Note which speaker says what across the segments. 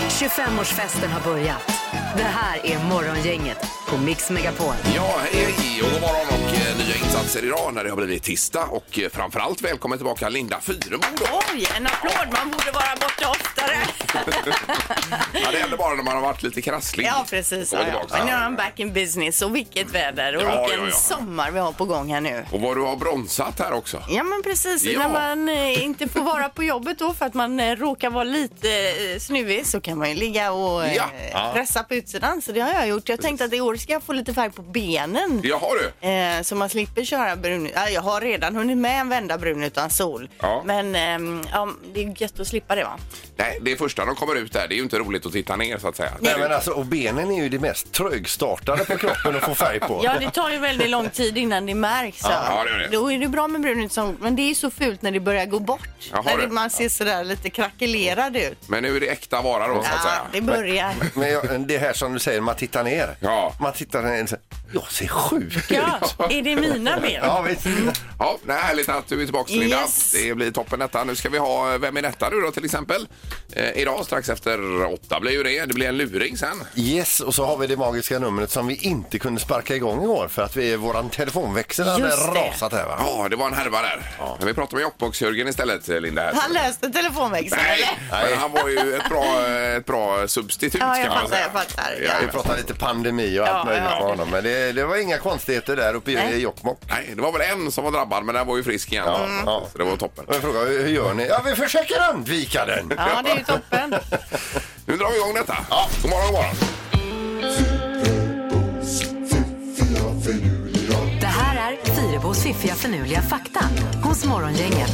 Speaker 1: 25-årsfesten har börjat. Det här är Morgongänget på Mix Megapol.
Speaker 2: Ja, hej hej och god morgon och eh, nya insatser idag när det har blivit tisdag och eh, framförallt välkommen tillbaka Linda Fyremo då.
Speaker 3: Oj, en applåd! Man borde vara borta oftare.
Speaker 2: Ja, det händer bara när man har varit lite krasslig.
Speaker 3: Ja, precis.
Speaker 2: Komma
Speaker 3: Ja, ja.
Speaker 2: tillbaka.
Speaker 3: Men nu är han back in business. Och vilket väder och
Speaker 2: Ja,
Speaker 3: vilken
Speaker 2: ja, ja.
Speaker 3: sommar vi har på gång här nu.
Speaker 2: Och vad du har bromsat här också.
Speaker 3: Ja, men precis.
Speaker 2: Ja.
Speaker 3: När man eh, inte får vara på jobbet då för att man eh, råkar vara lite eh, snuvig så kan man ju ligga och eh,
Speaker 2: Ja.
Speaker 3: pressa på utsidan. Så det har jag gjort. Jag tänkte att i år ska jag få lite färg på benen.
Speaker 2: Jaha du.
Speaker 3: Eh, så man slipper köra brun. Ja, jag har redan hunnit med en vända brun utan sol.
Speaker 2: Ja.
Speaker 3: Men ehm, ja, det är gött att slippa det va?
Speaker 2: Nej, det är första de kommer ut där. Det är ju inte roligt att titta ner så att säga.
Speaker 4: Nej, men alltså, och benen är ju det mest trögstartade på kroppen att få färg på.
Speaker 3: Ja, det tar ju väldigt lång tid innan det märks. Ja,
Speaker 2: ja, det gör det.
Speaker 3: Då är det bra med brun utsom, men det är ju så fult när det börjar gå bort.
Speaker 2: Jaha,
Speaker 3: när
Speaker 2: det.
Speaker 3: det, man ser sådär lite krackelerad ut.
Speaker 2: Men nu är det äkta vara då så att
Speaker 3: Ja,
Speaker 2: säga.
Speaker 3: det börjar.
Speaker 4: Men jag, det här som du säger, man tittar ner.
Speaker 2: Ja.
Speaker 4: Man tittar ner och säger, jag ser sjuk ut.
Speaker 3: Ja, är det mina ben?
Speaker 4: Ja, visst.
Speaker 2: Ja, nej, härligt att du är tillbaka Linda.
Speaker 3: Yes.
Speaker 2: Det blir toppen detta. Nu ska vi ha eh, Vem är detta nu då till exempel? Eh, idag strax efter åtta blir ju det. Det blir en luring sen.
Speaker 4: Yes, och så har vi det magiska numret som vi inte kunde sparka igång igår för att vi, våran telefonväxel hade
Speaker 3: Just det.
Speaker 4: rasat här va?
Speaker 2: Ja, det var en härva där. Men vi pratar med Jokkmokks-Jörgen istället, eh, Linda. Här.
Speaker 3: Han löste telefonväxeln
Speaker 2: Nej,
Speaker 3: eller?
Speaker 2: men han var ju ett bra, ett bra substitut
Speaker 3: Ja, jag
Speaker 2: kan man
Speaker 3: fattar,
Speaker 2: säga.
Speaker 3: jag fattar.
Speaker 2: Ja,
Speaker 4: Vi pratade lite pandemi och allt
Speaker 3: Ja,
Speaker 4: möjligt
Speaker 3: ja.
Speaker 4: med honom. Men det, det var inga konstigheter där uppe i
Speaker 3: Nej.
Speaker 4: Jokkmokk.
Speaker 2: Nej, det var väl en som var drabbad, men den var ju frisk igen.
Speaker 3: Mm.
Speaker 4: ja.
Speaker 2: Så det var toppen.
Speaker 4: Och jag frågade, hur gör ni? Ja, vi försöker undvika den.
Speaker 3: Ja, det är ju toppen.
Speaker 2: Nu drar vi igång detta. Ja. God morgon, god morgon.
Speaker 1: Det här är Fyrabos fiffiga förnuliga fakta hos Morgongänget.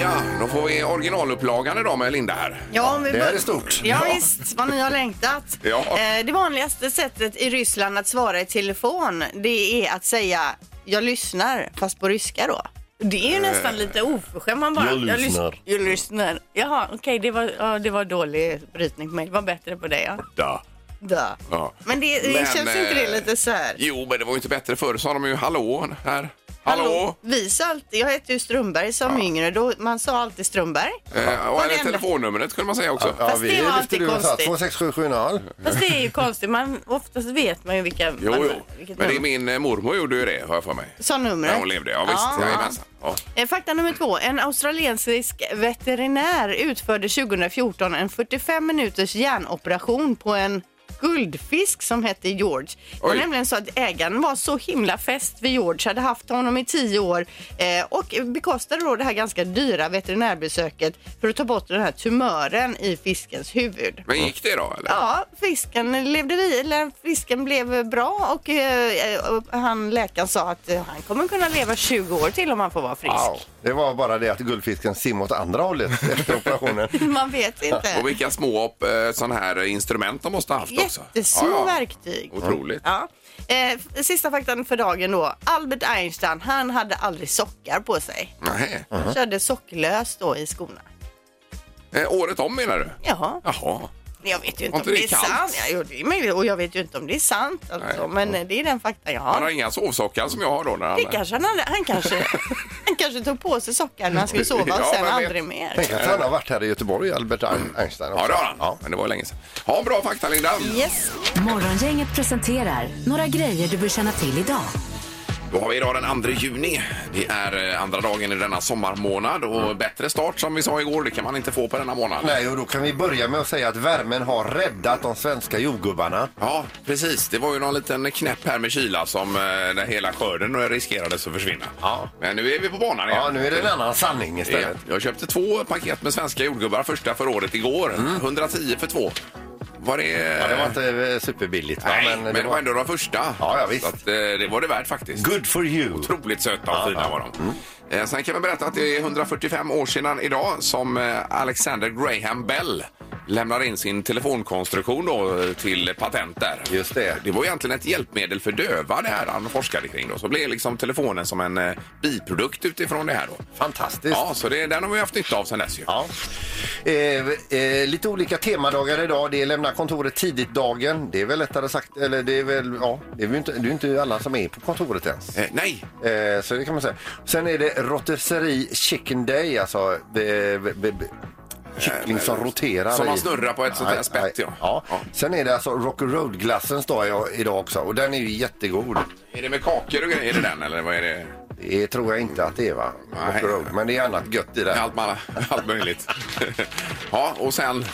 Speaker 2: Ja, då får vi originalupplagan idag med Linda här.
Speaker 3: Ja, om vi
Speaker 4: Det här
Speaker 3: bör-
Speaker 4: är stort.
Speaker 3: Ja, visst, vad ni har längtat.
Speaker 2: Ja.
Speaker 3: Eh, Det vanligaste sättet i Ryssland att svara i telefon det är att säga jag lyssnar fast på ryska då. Det är ju nästan
Speaker 2: Eh.
Speaker 3: lite oförskämt. Man bara,
Speaker 4: jag
Speaker 3: lys-
Speaker 4: lyssnar."
Speaker 3: Jag lyssnar. Jaha, okej, det, var, ja, det var dålig brytning på mig. Det var bättre på dig, ja.
Speaker 2: Ja.
Speaker 3: Da.
Speaker 2: Ja.
Speaker 3: Men det, det
Speaker 2: Men,
Speaker 3: känns inte det
Speaker 2: eh,
Speaker 3: lite så här?
Speaker 2: Jo, men det var ju inte bättre förr, sa de ju. Hallå här. Hallå?
Speaker 3: Vi sa alltid, jag hette ju Strömberg som yngre. Då, man sa alltid Strömberg.
Speaker 2: Eh, och
Speaker 3: Var det
Speaker 2: eller
Speaker 3: enda-
Speaker 2: telefonnumret kunde man säga också.
Speaker 4: Ja,
Speaker 3: Fast det var
Speaker 4: lyfte
Speaker 3: alltid
Speaker 4: luren och sa,
Speaker 3: konstigt.
Speaker 4: 26770.
Speaker 3: Fast det är ju konstigt. Man, oftast vet man ju vilka...
Speaker 2: Jo,
Speaker 3: man,
Speaker 2: jo.
Speaker 3: vilket
Speaker 2: Men det är
Speaker 3: nummer.
Speaker 2: min eh, mormor gjorde ju det, har jag för mig.
Speaker 3: Sa numret?
Speaker 2: När hon levde, ja visst.
Speaker 3: Ja.
Speaker 2: Jajamensan. Ja.
Speaker 3: Eh, Fakta nummer två. En australiensisk veterinär utförde 2014 en 45 minuters hjärnoperation på en guldfisk som hette George. Det var
Speaker 2: Oj.
Speaker 3: nämligen så att ägaren var så himla fäst vid George, hade haft honom i tio år eh, och bekostade då det här ganska dyra veterinärbesöket för att ta bort den här tumören i fiskens huvud.
Speaker 2: Men gick det då, eller?
Speaker 3: Ja, fisken levde vi, eller fisken blev bra och, eh, och han läkaren sa att eh, han kommer kunna leva 20 år till om han får vara frisk.
Speaker 4: Wow. Det var bara det att guldfisken simmade åt andra hållet efter operationen.
Speaker 3: Man vet inte.
Speaker 2: Och vilka små eh, sån här instrument de måste ha haft också.
Speaker 3: Jättesmå verktyg.
Speaker 2: Otroligt.
Speaker 3: Ja. Eh, sista faktan för dagen då. Albert Einstein, han hade aldrig sockar på sig.
Speaker 2: Nej.
Speaker 3: Han körde socklöst då i skorna.
Speaker 2: Eh, året om menar du?
Speaker 3: Jaha,
Speaker 2: Jaha.
Speaker 3: jag vet ju inte
Speaker 2: Var
Speaker 3: om
Speaker 2: inte
Speaker 3: det
Speaker 2: det
Speaker 3: är
Speaker 2: kallt?
Speaker 3: sant. Ja, jo, det är möjligt. Och jag vet ju inte om det är sant alltså.
Speaker 2: Nej.
Speaker 3: Men eh, det är den faktan jag
Speaker 2: Han har
Speaker 3: har.
Speaker 2: inga sovsockar som jag har då. När han...
Speaker 3: Det kanske han, hade, han, kanske, han kanske tog på sig sockar när han skulle sova och
Speaker 2: Ja,
Speaker 3: sen
Speaker 2: vem vet?
Speaker 3: aldrig mer.
Speaker 4: Tänk att han har varit här i Göteborg, Albert Ein- Einstein.
Speaker 2: Ja,
Speaker 4: Också.
Speaker 2: det har han. Men det var ju länge sedan. Ha bra fakta, Linda.
Speaker 3: Yes.
Speaker 1: Morgongänget presenterar några grejer du bör känna till idag.
Speaker 2: Då har vi idag den 2 juni. Det är eh, andra dagen i denna sommarmånad och bättre start som vi sa igår, det kan man inte få på denna månad.
Speaker 4: Mm. Nej, och då kan vi börja med att säga att värmen har räddat de svenska jordgubbarna.
Speaker 2: Ja, precis. Det var ju någon liten knäpp här med kyla som eh, där hela skörden riskerades att försvinna.
Speaker 4: Ja.
Speaker 2: Men nu är vi på banan igen.
Speaker 4: Ja, nu är det en annan sanning
Speaker 2: Ja,
Speaker 4: istället.
Speaker 2: jag köpte två paket med svenska jordgubbar första för året igår. 110 för två. Var det...
Speaker 4: Mm. Ja, det var inte eh, superbilligt. Va?
Speaker 2: Nej, men, det var ändå de första.
Speaker 4: Ja, ja, visst.
Speaker 2: Så att, eh, det var det värt faktiskt.
Speaker 4: Good for you.
Speaker 2: Otroligt söta och fina var
Speaker 4: Mm.
Speaker 2: de. Eh, Sen kan vi berätta att det är 145 år sedan idag som eh, Alexander Graham Bell lämnar in sin telefonkonstruktion då eh, till patent där.
Speaker 4: Just det.
Speaker 2: Det var egentligen ett hjälpmedel för döva det här han forskade kring då. Så blev liksom telefonen som en eh, biprodukt utifrån det här då.
Speaker 4: Fantastiskt.
Speaker 2: Ja, så det, den har vi haft nytta av sen dess ju.
Speaker 4: Ja. Eh, eh, lite olika temadagar idag. Det är lämna kontoret tidigt-dagen. Det är väl lättare sagt, eller det är väl, ja, det är ju inte, det är ju inte alla som är på kontoret ens.
Speaker 2: Eh, nej,
Speaker 4: Eh, så det kan man säga. Sen är det rotisserie chicken day, alltså eh, b- b- kyckling som roterar.
Speaker 2: Eh, som man
Speaker 4: i-
Speaker 2: snurrar på ett sånt här
Speaker 4: Nej,
Speaker 2: spett,
Speaker 4: nej.
Speaker 2: ja.
Speaker 4: ja.
Speaker 2: Ja.
Speaker 4: Sen är det alltså Rock and Road-glassens dag i- idag också och den är ju jättegod.
Speaker 2: är det med kakor och grejer i den eller vad är det?
Speaker 4: Det tror jag inte att det är va?
Speaker 2: Nej.
Speaker 4: Rock and Road. Men det är annat gött i det.
Speaker 2: Allt, man, allt möjligt. ja, och sen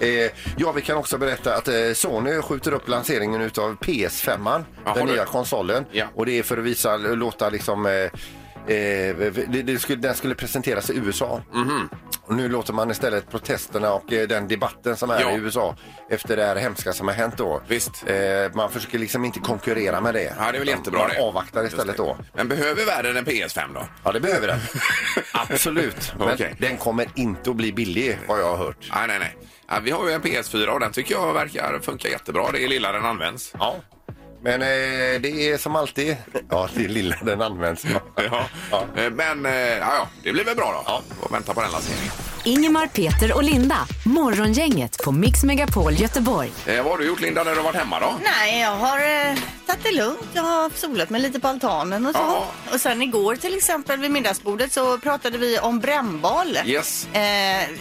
Speaker 4: Eh, ja, vi kan också berätta att eh, Sony skjuter upp lanseringen utav PS5,
Speaker 2: Jaha,
Speaker 4: den
Speaker 2: du.
Speaker 4: nya konsolen.
Speaker 2: Ja.
Speaker 4: Och det är för att visa, låta liksom... Eh, eh, det, det skulle, den skulle presenteras i USA.
Speaker 2: Mhm.
Speaker 4: Och nu låter man istället protesterna och eh, den debatten som är
Speaker 2: Ja.
Speaker 4: i USA efter det här hemska som har hänt då.
Speaker 2: Visst.
Speaker 4: Eh, man försöker liksom inte konkurrera med det.
Speaker 2: Ja, det är väl
Speaker 4: Man-
Speaker 2: jättebra
Speaker 4: Man
Speaker 2: det.
Speaker 4: avvaktar istället
Speaker 2: Just det.
Speaker 4: då.
Speaker 2: Men behöver världen en PS5 då?
Speaker 4: Ja, det behöver den. Absolut. Men
Speaker 2: Okej.
Speaker 4: den kommer inte att bli billig, vad jag har hört.
Speaker 2: Nej, nej, nej. Ja, vi har ju en PS4 och den tycker jag verkar funka jättebra. Det är lilla den används.
Speaker 4: Ja. Men eh, det är som alltid, ja det är lilla den används.
Speaker 2: Ja.
Speaker 4: Ja.
Speaker 2: Eh, Men eh, ja, ja, det blir väl bra då. Ja. Och vänta på den lanseringen.
Speaker 1: Ingemar, Peter och Linda. Morgongänget på Mix Megapol Göteborg.
Speaker 2: Eh, vad har du gjort Linda när du har varit hemma då?
Speaker 3: Nej, jag har eh, tagit det lugnt. Jag har solat mig lite på altanen och så.
Speaker 2: Ja.
Speaker 3: Och sen igår till exempel vid middagsbordet så pratade vi om brännboll.
Speaker 2: Yes.
Speaker 3: Eh,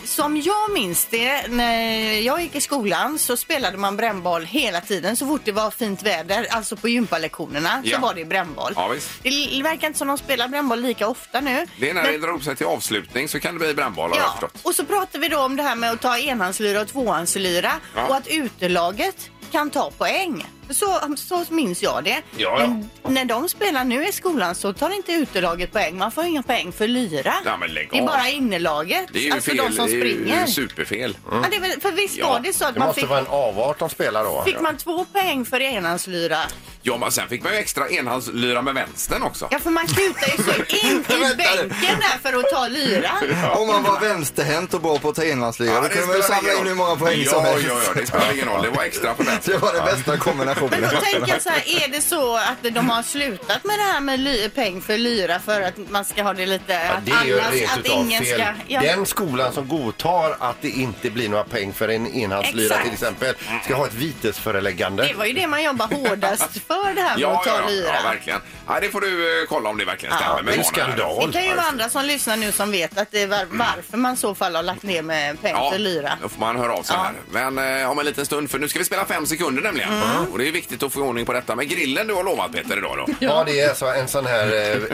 Speaker 3: som jag minns det, när jag gick i skolan så spelade man brännboll hela tiden. Så fort det var fint väder, alltså på gympalektionerna,
Speaker 2: Ja.
Speaker 3: så var det brännboll.
Speaker 2: Ja, visst.
Speaker 3: Det l- verkar inte som de spelar brännboll lika ofta nu.
Speaker 2: Det är när
Speaker 3: Men-
Speaker 2: det drar upp sig till avslutning så kan det bli brännboll har jag
Speaker 3: Ja,
Speaker 2: förstått.
Speaker 3: och så pratar vi då om det här med att ta enhandslyra och tvåhandslyra
Speaker 2: Ja.
Speaker 3: och att utelaget kan ta poäng. Så, så minns jag det.
Speaker 2: ja.
Speaker 3: Men när de spelar nu i skolan så tar inte utelaget poäng. Man får inga poäng för lyra.
Speaker 2: Ja, men lägg
Speaker 3: det är
Speaker 2: av.
Speaker 3: bara innelaget,
Speaker 2: Det är ju
Speaker 3: alltså
Speaker 2: fel.
Speaker 3: de som
Speaker 2: Det är
Speaker 3: springer.
Speaker 2: ju superfel.
Speaker 3: Ja, det är väl, för visst
Speaker 2: Ja,
Speaker 3: var det så att
Speaker 4: Det
Speaker 3: man
Speaker 4: måste
Speaker 3: fick,
Speaker 4: vara en avart de spelar då.
Speaker 3: fick man två poäng för enhandslyra?
Speaker 2: Ja, men sen fick man ju extra enhandslyra med vänstern också.
Speaker 3: Ja, för man kutar ju så in i
Speaker 5: Vänta.
Speaker 3: bänken där för att ta lyran.
Speaker 5: Om man var vänsterhänt och bra på att ta enhandsliga då kunde man ju
Speaker 2: spelar
Speaker 5: samla
Speaker 2: ingen
Speaker 5: in hur
Speaker 2: roll.
Speaker 5: många poäng
Speaker 2: ja,
Speaker 5: som
Speaker 2: ja,
Speaker 5: helst.
Speaker 2: ja, det spelar ingen roll. Det var extra på vänstern.
Speaker 5: Det var den bästa kombinationen.
Speaker 3: Men då tänker jag så här, är det så att de har slutat med det här med ly- peng för lyra för att man ska ha det lite...
Speaker 4: Ja, det är ju
Speaker 3: alla-
Speaker 4: rent utav fel.
Speaker 3: ja.
Speaker 4: Den skolan som godtar att det inte blir några poäng för en enhandslyra
Speaker 3: Exakt.
Speaker 4: till exempel ska ha ett vitesföreläggande.
Speaker 3: Det var ju det man jobbar hårdast för det här med
Speaker 2: Ja,
Speaker 3: att ta
Speaker 2: ja, ja,
Speaker 3: lyra.
Speaker 2: ja, verkligen. Ja, det får du eh, kolla om det verkligen
Speaker 3: Ja,
Speaker 2: stämmer med
Speaker 4: det är en
Speaker 2: barnen här.
Speaker 4: skandal.
Speaker 3: det kan ju vara andra som lyssnar nu som vet att det är var- varför man i så fall har lagt ner med peng
Speaker 2: Ja,
Speaker 3: för lyra.
Speaker 2: då får man höra av sig
Speaker 3: Ja.
Speaker 2: här. Men eh, om en liten stund, för nu ska vi spela fem sekunder nämligen.
Speaker 5: Mm.
Speaker 2: Och det är viktigt att få ordning på detta. Men grillen du har lovat Peter idag då?
Speaker 4: Ja, det är alltså en sån här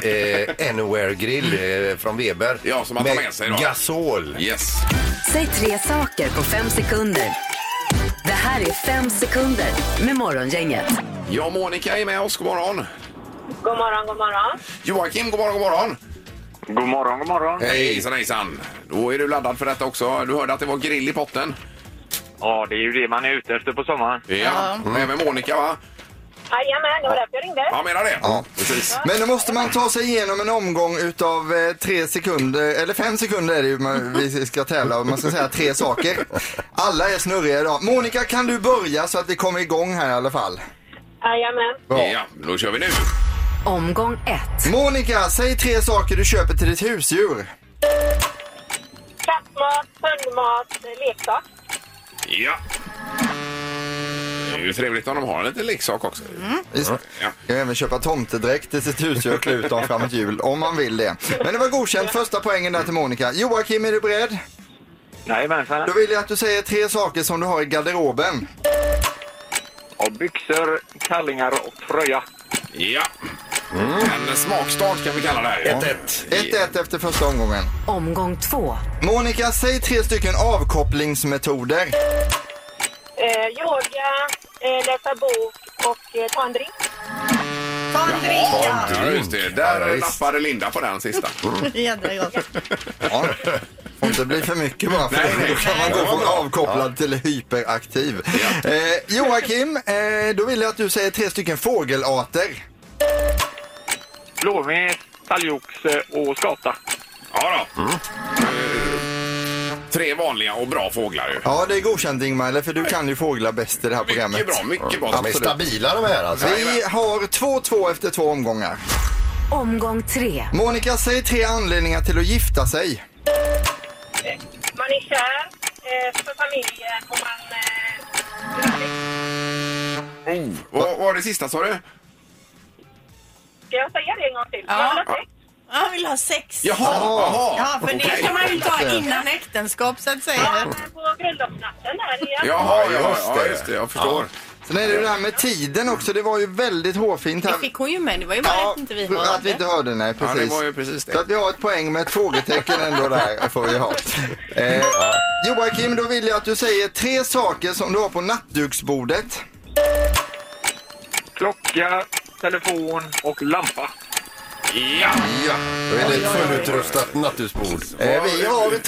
Speaker 4: eh, eh, Anywhere-grill eh, från Weber.
Speaker 2: Ja, som man tar med sig då.
Speaker 4: gasol.
Speaker 2: Yes.
Speaker 1: Säg tre saker på fem sekunder. Det här är fem sekunder med Morgongänget.
Speaker 2: Ja, Monica är med oss. God morgon.
Speaker 6: God morgon, god morgon.
Speaker 2: Joakim, god morgon, god morgon.
Speaker 7: God morgon, god morgon.
Speaker 2: Hejsan, hejsan. Då är du laddad för detta också. Du hörde att det var grill i potten.
Speaker 7: Ja, det är ju det man är ute efter på sommaren.
Speaker 2: Ja. Och även Monica va?
Speaker 6: Jajamän, det var därför jag ringde.
Speaker 2: Ja, menar det.
Speaker 5: Ja.
Speaker 2: Precis.
Speaker 5: Men då måste man ta sig igenom en omgång utav eh, tre sekunder, eller fem sekunder är det ju man- vi ska tävla och man ska säga tre saker. Alla är snurriga idag. Monica kan du börja så att vi kommer igång här i alla fall?
Speaker 6: Jajamän.
Speaker 5: Bra.
Speaker 2: Ja, då kör vi nu.
Speaker 1: Omgång ett.
Speaker 5: Monica, säg tre saker du köper till ditt husdjur.
Speaker 6: Kattmat, hundmat, leksak.
Speaker 2: Ja. Det är ju trevligt om de har en liten leksak också.
Speaker 5: Visst.
Speaker 2: Ja.
Speaker 5: Kan även köpa tomtedräkt till sitt husdjur och klä ut dem framåt jul om man vill det. Men det var godkänt, första poängen där till Monica. Joakim, är du beredd?
Speaker 7: Jajamensan.
Speaker 5: Då vill jag att du säger tre saker som du har i garderoben.
Speaker 7: Och byxor, kallingar och tröja.
Speaker 2: Ja. Mm. En smakstart kan vi kalla det här. 1-1.
Speaker 5: 1-1 efter första omgången.
Speaker 1: Omgång två.
Speaker 5: Monica, säg tre stycken avkopplingsmetoder.
Speaker 6: Eh, yoga, eh, läsa bok och eh, ta en drink.
Speaker 3: Ta en drink! ja.
Speaker 2: Mm. Ja, just det. Där nappade Linda på den sista.
Speaker 3: Jädra gott.
Speaker 5: Ja. Får inte bli för mycket bara, för
Speaker 2: Nej, nej.
Speaker 5: då kan man gå från avkopplad till hyperaktiv. Eh, Joakim, eh, då vill jag att du säger tre stycken fågelarter.
Speaker 2: Mm.
Speaker 7: Blåmes, talgoxe och skata.
Speaker 2: Ja då. Eh, Tre vanliga och bra fåglar ju.
Speaker 5: Ja, det är godkänt Ingmar, eller? för du kan ju fåglar bäst i det här programmet.
Speaker 2: Mycket bra, mycket bra.
Speaker 4: De är stabila de här alltså.
Speaker 5: Vi har 2-2 efter två omgångar.
Speaker 1: Omgång tre.
Speaker 5: Monica, säg tre anledningar till att gifta sig.
Speaker 6: Man är kär eh, för familjen och man... Eh,
Speaker 2: Oh, vad vad var det sista sa du?
Speaker 6: ska jag säga det en gång till?
Speaker 8: Ja.
Speaker 6: Jag vill
Speaker 8: Han vill ha
Speaker 6: ha sex.
Speaker 8: sex.
Speaker 2: Jaha, jaha.
Speaker 8: Ja, för det
Speaker 2: okej.
Speaker 8: kan man ju inte ha innan äktenskap så att säga.
Speaker 6: Ja, på bröllopsnatten där. igen.
Speaker 2: Jaha,
Speaker 4: Ja,
Speaker 2: ja,
Speaker 4: just
Speaker 2: ja,
Speaker 4: det.
Speaker 2: just det. Jag förstår.
Speaker 5: Sen är det ju det här med tiden också. Det var ju väldigt hårfint
Speaker 8: Det
Speaker 5: här.
Speaker 8: fick hon ju med. Det var ju bara att inte vi hörde.
Speaker 5: att vi inte hörde, nej
Speaker 2: Ja,
Speaker 5: precis.
Speaker 2: det var ju precis
Speaker 5: Så
Speaker 2: det.
Speaker 5: att vi har ett poäng med ett frågetecken ändå där, får vi ha. Eh, Joakim, då vill jag att du säger tre saker som du har på nattduksbordet.
Speaker 7: Klocka, telefon och lampa.
Speaker 2: Ja!
Speaker 4: Då är det ett fullutrustat nattusbord.
Speaker 5: Eh, vi har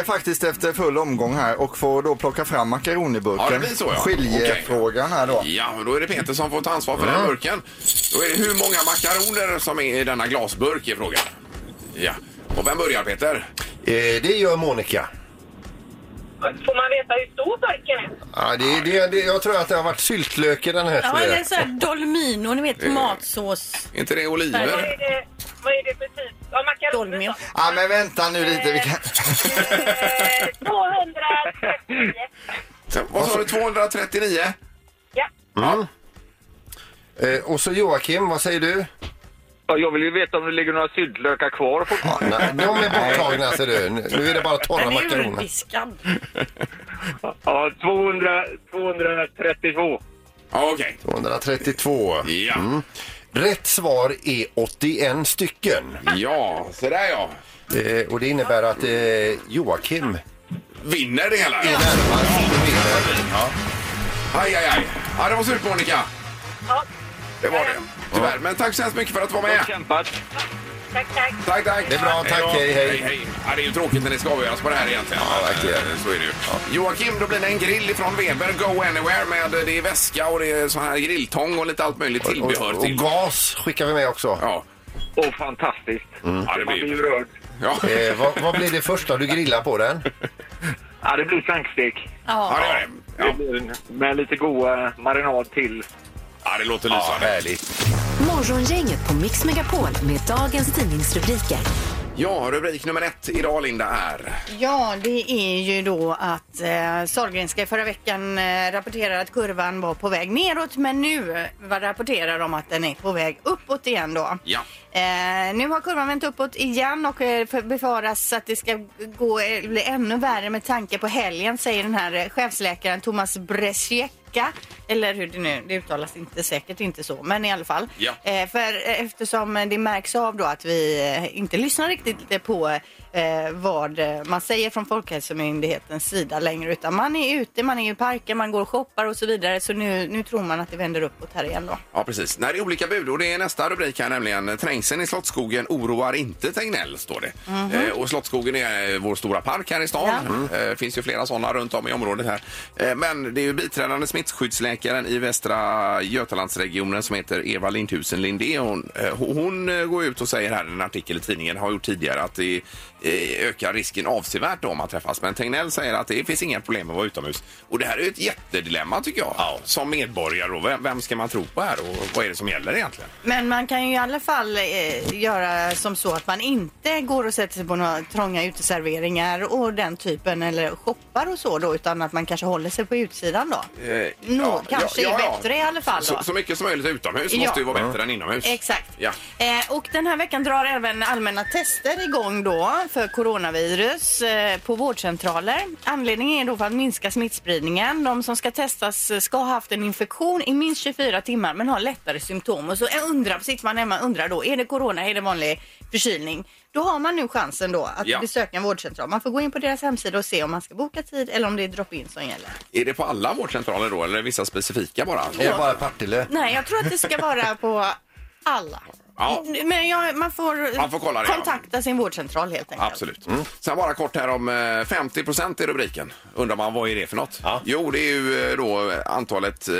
Speaker 5: 3-3 faktiskt efter full omgång här och får då plocka fram makaroniburken.
Speaker 2: Ja, det blir så, ja.
Speaker 5: Skiljefrågan här då.
Speaker 2: Ja, och då är det Peter som får ta ansvar för den burken. Då är det hur många makaroner som är i denna glasburk i frågan. Ja. Och vem börjar Peter?
Speaker 4: Eh, det gör Monica.
Speaker 6: Får man veta hur stor burken är?
Speaker 4: Ja, det, det, det, jag tror att det har varit syltlök i den här.
Speaker 8: Ja,
Speaker 4: tror jag.
Speaker 8: eller så här dolmino, ni vet matsås.
Speaker 2: Är inte det
Speaker 6: Vad är
Speaker 2: oliver?
Speaker 6: det, vad är det för typ? Ja, makaroner
Speaker 8: Dolmio.
Speaker 6: då.
Speaker 5: Ja, men vänta nu lite. Vi kan...
Speaker 6: Eh, 239.
Speaker 2: Så, Vad sa du, 239?
Speaker 6: Ja.
Speaker 4: Eh, och så Joakim, vad säger du?
Speaker 7: Ja, Jag vill ju veta om det ligger några syltlökar kvar fortfarande.
Speaker 4: Nej, de är borttagna ser du. Nu är det bara torra
Speaker 8: Den är
Speaker 4: makaroner.
Speaker 8: urdiskad.
Speaker 7: Ja, 200, 232.
Speaker 2: Ja, okej.
Speaker 4: 232.
Speaker 2: Ja.
Speaker 4: Mm. Rätt svar är 81 stycken.
Speaker 2: Ja, så där ja.
Speaker 4: Eh, och det innebär att eh, Joakim
Speaker 2: Vinner det hela?
Speaker 4: är
Speaker 2: Ja.
Speaker 4: närmast. och vinner.
Speaker 2: Ja. Aj, aj, aj. Ja, det var slut Monica.
Speaker 6: ja.
Speaker 2: Det var det. Tyvärr. Men tack så hemskt mycket för att du var
Speaker 7: Bra
Speaker 2: med.
Speaker 7: kämpat.
Speaker 6: Tack, tack.
Speaker 2: Tack, tack.
Speaker 4: Det är bra, tack,
Speaker 2: då.
Speaker 4: hej, hej.
Speaker 2: Ja, det är ju tråkigt när det ska avgöras på det här egentligen.
Speaker 4: Ja, verkligen.
Speaker 2: Eh, Så är det ju. Joakim, då blir det en grill ifrån Weber Go Anywhere med eh, det är väska och det är sån här grilltång och lite allt möjligt tillbehör
Speaker 4: Och, och
Speaker 2: till.
Speaker 4: gas skickar vi med också.
Speaker 2: Ja,
Speaker 7: Och fantastiskt.
Speaker 2: ja det
Speaker 7: Man
Speaker 2: blir
Speaker 7: blir
Speaker 2: ju...
Speaker 7: ju rörd.
Speaker 2: Ja, ja
Speaker 4: Eh, vad, vad blir det första du grillar på den?
Speaker 7: Ja, det blir slankstek.
Speaker 2: det
Speaker 8: Ja.
Speaker 2: gör det.
Speaker 7: Det
Speaker 2: Ja,
Speaker 7: blir en- Med lite god eh, marinad till.
Speaker 2: ja det låter lysande.
Speaker 4: härligt.
Speaker 1: Morgongänget på Mix Megapol med dagens tidningsrubriker.
Speaker 2: Ja, rubrik nummer ett idag Linda är...
Speaker 3: Ja, det är ju då att eh, Sahlgrenska förra veckan eh, rapporterade att kurvan var på väg neråt men nu eh, vad rapporterar de att den är på väg uppåt igen då.
Speaker 2: Ja.
Speaker 3: Eh, nu har kurvan vänt uppåt igen och eh, för- befaras att det ska gå, eh, bli ännu värre med tanke på helgen säger den här eh, chefsläkaren Thomas Bresiecka. Eller hur det nu, det uttalas inte säkert inte så, men i alla fall.
Speaker 2: Ja.
Speaker 3: Eh, för eh, eftersom eh, det märks av då att vi eh, inte lyssnar riktigt eh, på eh, vad eh, man säger från Folkhälsomyndighetens sida längre utan man är ute, man är i parker, man går och shoppar och så vidare så nu, nu tror man att det vänder uppåt här igen då.
Speaker 2: Ja, precis. Nej, det är olika bud och det är nästa rubrik här nämligen. Trängseln i Slottsskogen oroar inte Tegnell, står det.
Speaker 4: Mhm.
Speaker 2: Eh, och Slottsskogen är eh, vår stora park här i stan.
Speaker 3: Mm.
Speaker 2: Det eh, finns ju flera sådana runt om i området här. Eh, men det är ju biträdande smittskyddsläkaren i Västra Götalandsregionen som heter Eva Lindhusen Lindé. Hon, eh, hon eh, går ut och säger här i en artikel i tidningen, har gjort tidigare, att det eh, ökar risken avsevärt då om man träffas. Men Tegnell säger att det finns inga problem med att vara utomhus. Och det här är ju ett jättedilemma tycker jag, som medborgare. Och vem, vem ska man tro på här och vad är det som gäller egentligen?
Speaker 3: Men man kan ju i alla fall eh, göra som så att man inte går och sätter sig på några trånga uteserveringar och den typen eller shoppar och så då utan att man kanske håller sig på utsidan då.
Speaker 2: Eh,
Speaker 3: Nå, kanske är bättre i alla fall då.
Speaker 2: Så, så mycket som möjligt utomhus
Speaker 3: Alltså- Ja.
Speaker 2: måste ju vara bättre än inomhus.
Speaker 3: Exakt.
Speaker 2: Ja.
Speaker 3: Eh, och den här veckan drar även allmänna tester igång då för coronavirus eh, på vårdcentraler. Anledningen är då för att minska smittspridningen. De som ska testas eh, ska ha haft en infektion i minst 24 timmar men har lättare symptom. Och så eh, undrar, sitter man hemma och undrar då, är det corona, är det vanlig förkylning? Då har man nu chansen då att
Speaker 2: Ja.
Speaker 3: besöka en vårdcentral. Man får gå in på deras hemsida och se om man ska boka tid eller om det är drop-in som gäller.
Speaker 2: Är det på alla vårdcentraler då eller är det vissa specifika bara?
Speaker 4: Är det bara Partille?
Speaker 3: Nej, jag tror att det ska vara på alla.
Speaker 2: Ja.
Speaker 3: Men jag, man, får
Speaker 2: Man får kolla det, ja.
Speaker 3: kontakta sin vårdcentral helt enkelt.
Speaker 2: Absolut. Mm. Sen bara kort här om eh, 50 procent i rubriken. Undrar man vad är det för något? Jo, det är ju eh, då antalet eh,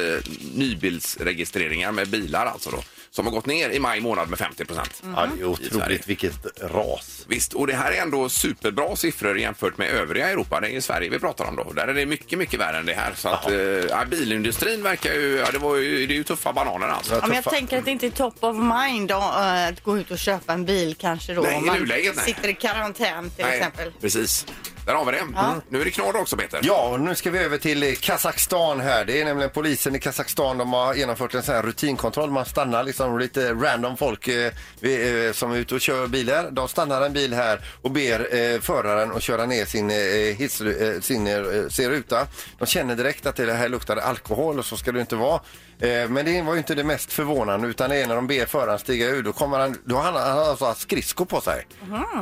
Speaker 2: nybilsregistreringar med eh, bilar alltså då. som har gått ner i maj månad med 50 procent.
Speaker 4: Ja, det är
Speaker 2: Sverige.
Speaker 4: otroligt vilket ras.
Speaker 2: Visst, och det här är ändå superbra siffror jämfört med övriga Europa. Det är ju Sverige vi pratar om då. Där är det mycket, mycket värre än det här. Så att, eh, ja, bilindustrin verkar ju, ja, det, var ju, det är ju tuffa bananer alltså.
Speaker 3: Ja, men jag tänker att det inte är top of mind då, eh, att gå ut och köpa en bil kanske då.
Speaker 2: Nej,
Speaker 3: om
Speaker 2: i
Speaker 3: man
Speaker 2: nuläget, nej.
Speaker 3: sitter i karantän till
Speaker 2: Nej,
Speaker 3: exempel.
Speaker 2: Precis. Där har vi det. Mm. Nu är det knorr också Peter.
Speaker 4: Ja, och nu ska vi över till eh, Kazakstan här. Det är nämligen polisen i Kazakstan. De har genomfört en sån här rutinkontroll. Man stannar liksom lite random folk eh, vi- eh, som är ute och kör bilar. De stannar en bil här och ber eh, föraren att köra ner sin, eh, hiss, eh, sin eh, sin ruta. De känner direkt att det här luktar alkohol och så ska det inte vara. Eh, men det var ju inte det mest förvånande utan det är när de ber föraren stiga ur. Då, kommer han, då har han, han har alltså haft skridskor på sig.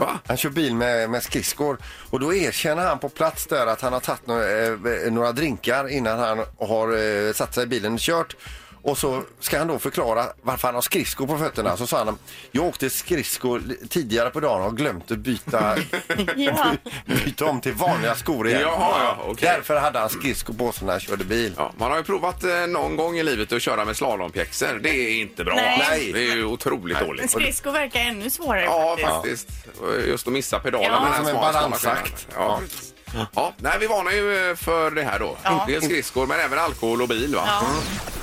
Speaker 2: Va?
Speaker 4: Han kör bil med, med skridskor och då erkänner han på plats där att han har tagit några, eh, några drinkar innan han har eh, satt sig i bilen och kört. Och så ska han då förklara varför han har skridskor på fötterna. Så sa han, jag åkte skridskor li- tidigare på dagen och har glömt att byta,
Speaker 3: Ja.
Speaker 4: byta om till vanliga skor igen.
Speaker 2: Jaha, ja, okej.
Speaker 4: Därför hade han skridskor på sig när han körde bil.
Speaker 2: Ja, man har ju provat eh, någon gång i livet att köra med slalompjäxor. Det är inte bra.
Speaker 8: Nej.
Speaker 4: Nej.
Speaker 2: Det är ju otroligt
Speaker 8: Men
Speaker 2: dåligt.
Speaker 8: skridskor verkar ännu svårare
Speaker 2: Ja,
Speaker 8: faktiskt.
Speaker 2: faktiskt. Just att missa pedalen
Speaker 8: Ja.
Speaker 2: med den
Speaker 4: Som en
Speaker 2: smala, smala
Speaker 4: balansakt.
Speaker 2: skärmen. Ja. precis. Ja, nej, vi varnar ju eh, för det här då. Dels skridskor, men även alkohol och bil. Va?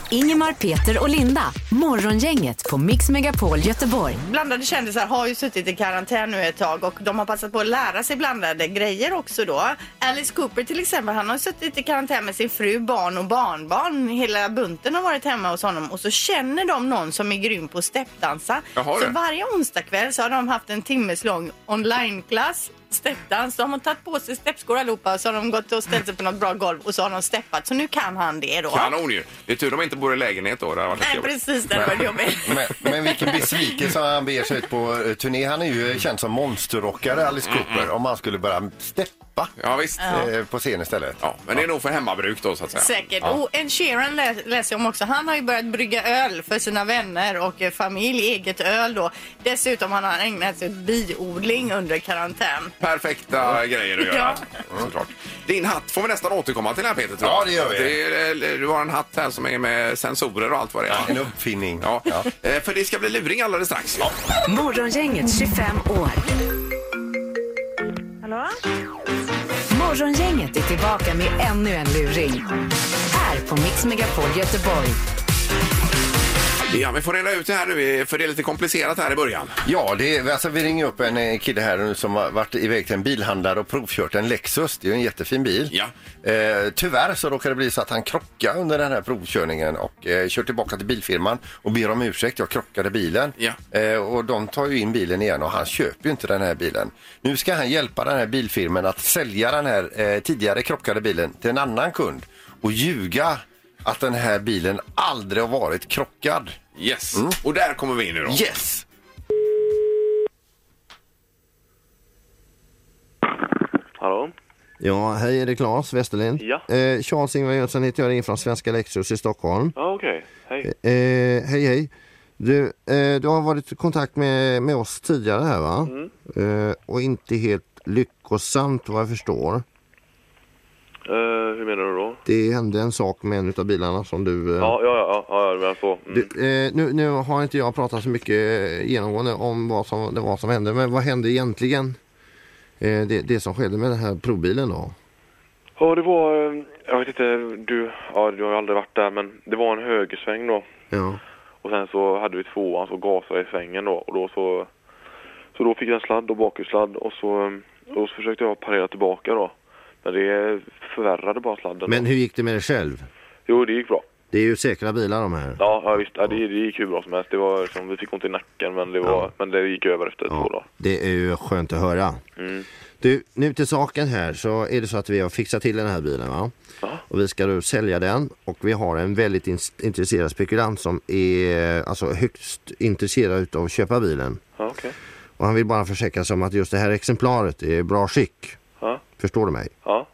Speaker 1: Ingemar, Peter och Linda. Morgongänget på Mix Megapol Göteborg.
Speaker 3: Blandade kändisar har ju suttit i karantän nu ett tag och de har passat på att lära sig blandade grejer också då. Alice Cooper till exempel, han har suttit i karantän med sin fru, barn och barnbarn. Hela bunten har varit hemma hos honom och så känner de någon som är grym på att steppdansa.
Speaker 2: Jaha,
Speaker 3: så
Speaker 2: det.
Speaker 3: varje onsdagkväll så har de haft en timmes lång onlineklass steppdans. De har tagit på sig steppskor allihopa och så har de gått och ställt sig på något bra golv och så har de steppat. Så nu kan han det då.
Speaker 2: Kanon ju! Det är tur de inte bor i lägenhet då. Det hade varit lite
Speaker 3: Nej,
Speaker 2: jobbigt.
Speaker 3: precis. Det var jobbigt.
Speaker 4: Men, men vilken besvikelse han beger sig ut på eh, turné. Han är ju känd som monsterrockare, Alice Cooper, om han skulle börja steppa.
Speaker 2: Ja, visst. Mm, Ja.
Speaker 4: eh, på scen istället.
Speaker 2: men det är nog för hemmabruk då så att säga.
Speaker 3: Säkert. Och en Sheeran lä läser jag om också. Han har ju börjat brygga öl för sina vänner och eh, familj, eget öl då. Dessutom har han ägnat sig åt biodling under karantän.
Speaker 2: Perfekta grejer att göra. Såklart. Din hatt får vi nästan återkomma till här Peter. Tror jag.
Speaker 4: Ja, det gör vi.
Speaker 2: Det är, eh, du har en hatt här som är med sensorer och allt vad det är.
Speaker 4: En uppfinning.
Speaker 2: Ja. Eh, För det ska bli luring alldeles strax.
Speaker 1: Morgongänget 25 år.
Speaker 6: Hallå?
Speaker 1: Morgongänget är tillbaka med ännu en luring. Här på Mix Megapol Göteborg.
Speaker 2: Ja, vi får reda ut det här nu för det är lite komplicerat här i början.
Speaker 4: Ja, det är, alltså, vi ringer upp en eh, kille här nu som har varit iväg till en bilhandlare och provkört en Lexus. Det är ju en jättefin bil.
Speaker 2: Ja.
Speaker 4: Eh, tyvärr så råkade det bli så att han krockade under den här provkörningen och eh, kör tillbaka till bilfirman och ber om ursäkt. Jag krockade bilen.
Speaker 2: Ja.
Speaker 4: Eh, och de tar ju in bilen igen och han köper ju inte den här bilen. Nu ska han hjälpa den här bilfirman att sälja den här eh, tidigare krockade bilen till en annan kund och ljuga att den här bilen aldrig har varit krockad.
Speaker 2: Yes. Mm. Och där kommer vi in nu då.
Speaker 4: Yes!
Speaker 7: Hallå?
Speaker 9: Ja, hej, är det Claes Westerlind?
Speaker 7: Ja.
Speaker 9: Eh, Charles-Ingvar Jönsson heter jag, ringer från Svenska Lexus i Stockholm.
Speaker 7: Ja, okej. Hej.
Speaker 9: Eh, hej, hej. Du, eh, du har varit i kontakt med, med oss tidigare här va?
Speaker 7: Mm.
Speaker 9: Eh, och inte helt lyckosamt vad jag förstår.
Speaker 7: Eh, hur menar du då?
Speaker 9: Det hände en sak med en av bilarna som du... eh,
Speaker 7: Ja, ja, ja, ja, ja du menar så.
Speaker 9: Du,
Speaker 7: Mm.
Speaker 9: eh, nu, nu har inte jag pratat så mycket eh, genomgående om vad som, det var som hände, men vad hände egentligen? Eh, det, det som skedde med den här provbilen då?
Speaker 7: Ja, det var, eh, jag vet inte, du, ja, du har ju aldrig varit där, men det var en högersväng då.
Speaker 9: Ja.
Speaker 7: Och sen så hade vi tvåan så gasade i svängen då och då så, så då fick jag en sladd och bakhjulssladd och så, eh, och så försökte jag parera tillbaka då. Men det förvärrade bara sladden.
Speaker 9: Men hur gick det med dig själv?
Speaker 7: Jo, det gick bra.
Speaker 9: Det är ju säkra bilar de här.
Speaker 7: Ja, ja visst. Ja, det, det gick hur bra som helst. Det var, liksom, vi fick ont i nacken men det, var, men det gick över efter två dagar.
Speaker 9: Det är ju skönt att höra.
Speaker 7: Mm.
Speaker 9: Du, nu till saken här så är det så att vi har fixat till den här bilen va? Och vi ska då sälja den och vi har en väldigt in- intresserad spekulant som är alltså högst intresserad utav att köpa bilen.
Speaker 7: Ja, okej.
Speaker 9: Och han vill bara försäkra sig om att just det här exemplaret är i bra skick.
Speaker 7: Ja.
Speaker 9: Förstår du mig?
Speaker 7: Ja.